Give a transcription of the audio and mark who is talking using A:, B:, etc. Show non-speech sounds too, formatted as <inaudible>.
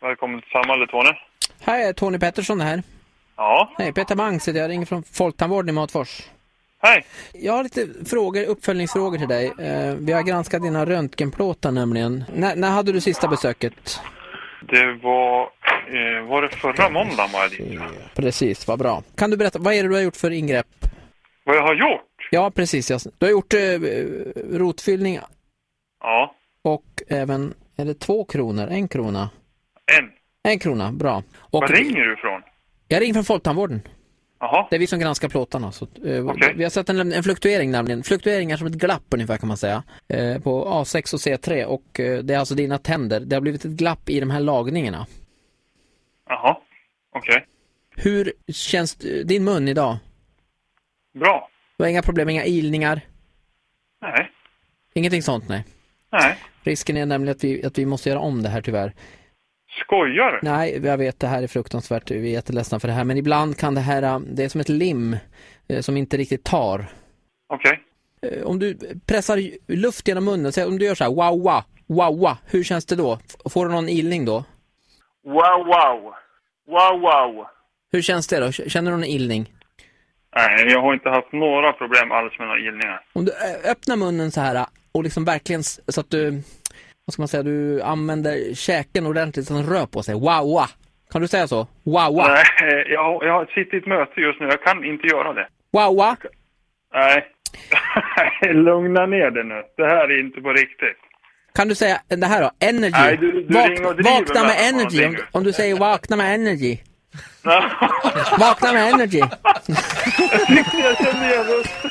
A: Välkommen till samhället, Tony.
B: Hej, Tony Pettersson här.
A: Ja,
B: Hej, Peter Mangs heter jag. jag. ringer från Folktandvården i Matfors.
A: hej.
B: Jag har lite frågor, uppföljningsfrågor till dig. Eh, vi har granskat dina röntgenplåtar nämligen. När, när hade du sista besöket?
A: Det var... Eh, var det förra måndagen var jag dit?
B: Precis, vad bra. Kan du berätta, vad är det du har gjort för ingrepp?
A: Vad jag har gjort?
B: Ja, precis. Jag, du har gjort eh, rotfyllning
A: Ja,
B: och även, är det två kronor? En krona?
A: en.
B: En krona, bra. Och
A: Var ringer du ifrån?
B: Jag ringer från Folktandvården.
A: Jaha,
B: Det är vi som granskar plåtarna. Så, att, eh,
A: Okej.
B: Vi har sett en, en fluktuering nämligen. Fluktueringar som ett glapp ungefär kan man säga. Eh, på A6 och C3 och eh, det är alltså dina tänder. Det har blivit ett glapp i de här lagningarna.
A: jaha. Okej.
B: Hur känns eh, din mun idag?
A: Bra.
B: Du har inga problem, inga ilningar?
A: Nej,
B: Ingenting sånt nej.
A: nej.
B: Risken är nämligen att vi, att vi måste göra om det här tyvärr.
A: Skojar du?
B: Nej, jag vet det här är fruktansvärt. Vi är jätteledsna för det här. Men ibland kan det här, eh, det är som ett lim eh, som inte riktigt tar.
A: Okej.
B: Eh, Om du pressar ju- luft genom munnen, säg om du gör så här wow, wow, wow, wow, hur känns det då? F- Får du någon ilning då?
A: Wow, wow. Wow, wow.
B: Hur känns det då? K- Känner du någon ilning?
A: Nej, jag har inte haft några problem alls med några illningar.
B: Om du ö- öppnar munnen så här och liksom verkligen s- så att du, vad ska man säga, du använder käken ordentligt så att den rör på sig. Wow, wow. Kan du säga så? Wow, wow,
A: Nej, jag, jag sitter i ett möte just nu. Jag kan inte göra det.
B: wow, wow.
A: Nej. <laughs> Lugna ner dig nu. Det här är inte på riktigt.
B: Kan du säga det här då? Energy.
A: Nej, du- du ringer och driver
B: vakna med
A: med
B: energy. Om,
A: någonting.
B: om du säger vakna
A: <laughs>
B: med energy.
A: Nej.
B: Vakna med energy.
A: Jag kände igen rösten.